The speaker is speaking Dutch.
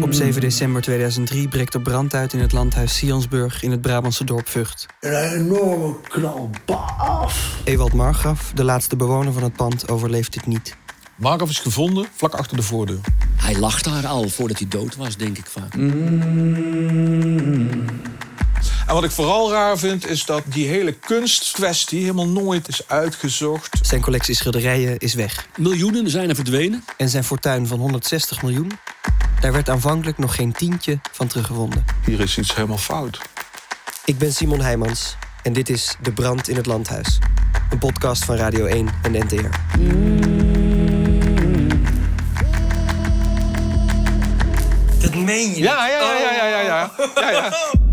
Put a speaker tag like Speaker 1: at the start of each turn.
Speaker 1: Op 7 december 2003 breekt er brand uit in het landhuis Sionsburg in het Brabantse dorp Vught.
Speaker 2: Een enorme knal. Baaf!
Speaker 1: Ewald Margraf, de laatste bewoner van het pand, overleeft dit niet.
Speaker 3: Markov is gevonden vlak achter de voordeur.
Speaker 4: Hij lag daar al voordat hij dood was, denk ik vaak.
Speaker 3: En wat ik vooral raar vind, is dat die hele kunstkwestie helemaal nooit is uitgezocht.
Speaker 1: Zijn collectie schilderijen is weg.
Speaker 4: Miljoenen zijn er verdwenen.
Speaker 1: En zijn fortuin van 160 miljoen? Daar werd aanvankelijk nog geen tientje van teruggevonden.
Speaker 3: Hier is iets helemaal fout.
Speaker 1: Ik ben Simon Heijmans en dit is De Brand in het Landhuis. Een podcast van Radio 1 en de NTR.
Speaker 2: Dat meen je.
Speaker 3: Ja, ja, ja, ja, ja, ja. ja, ja.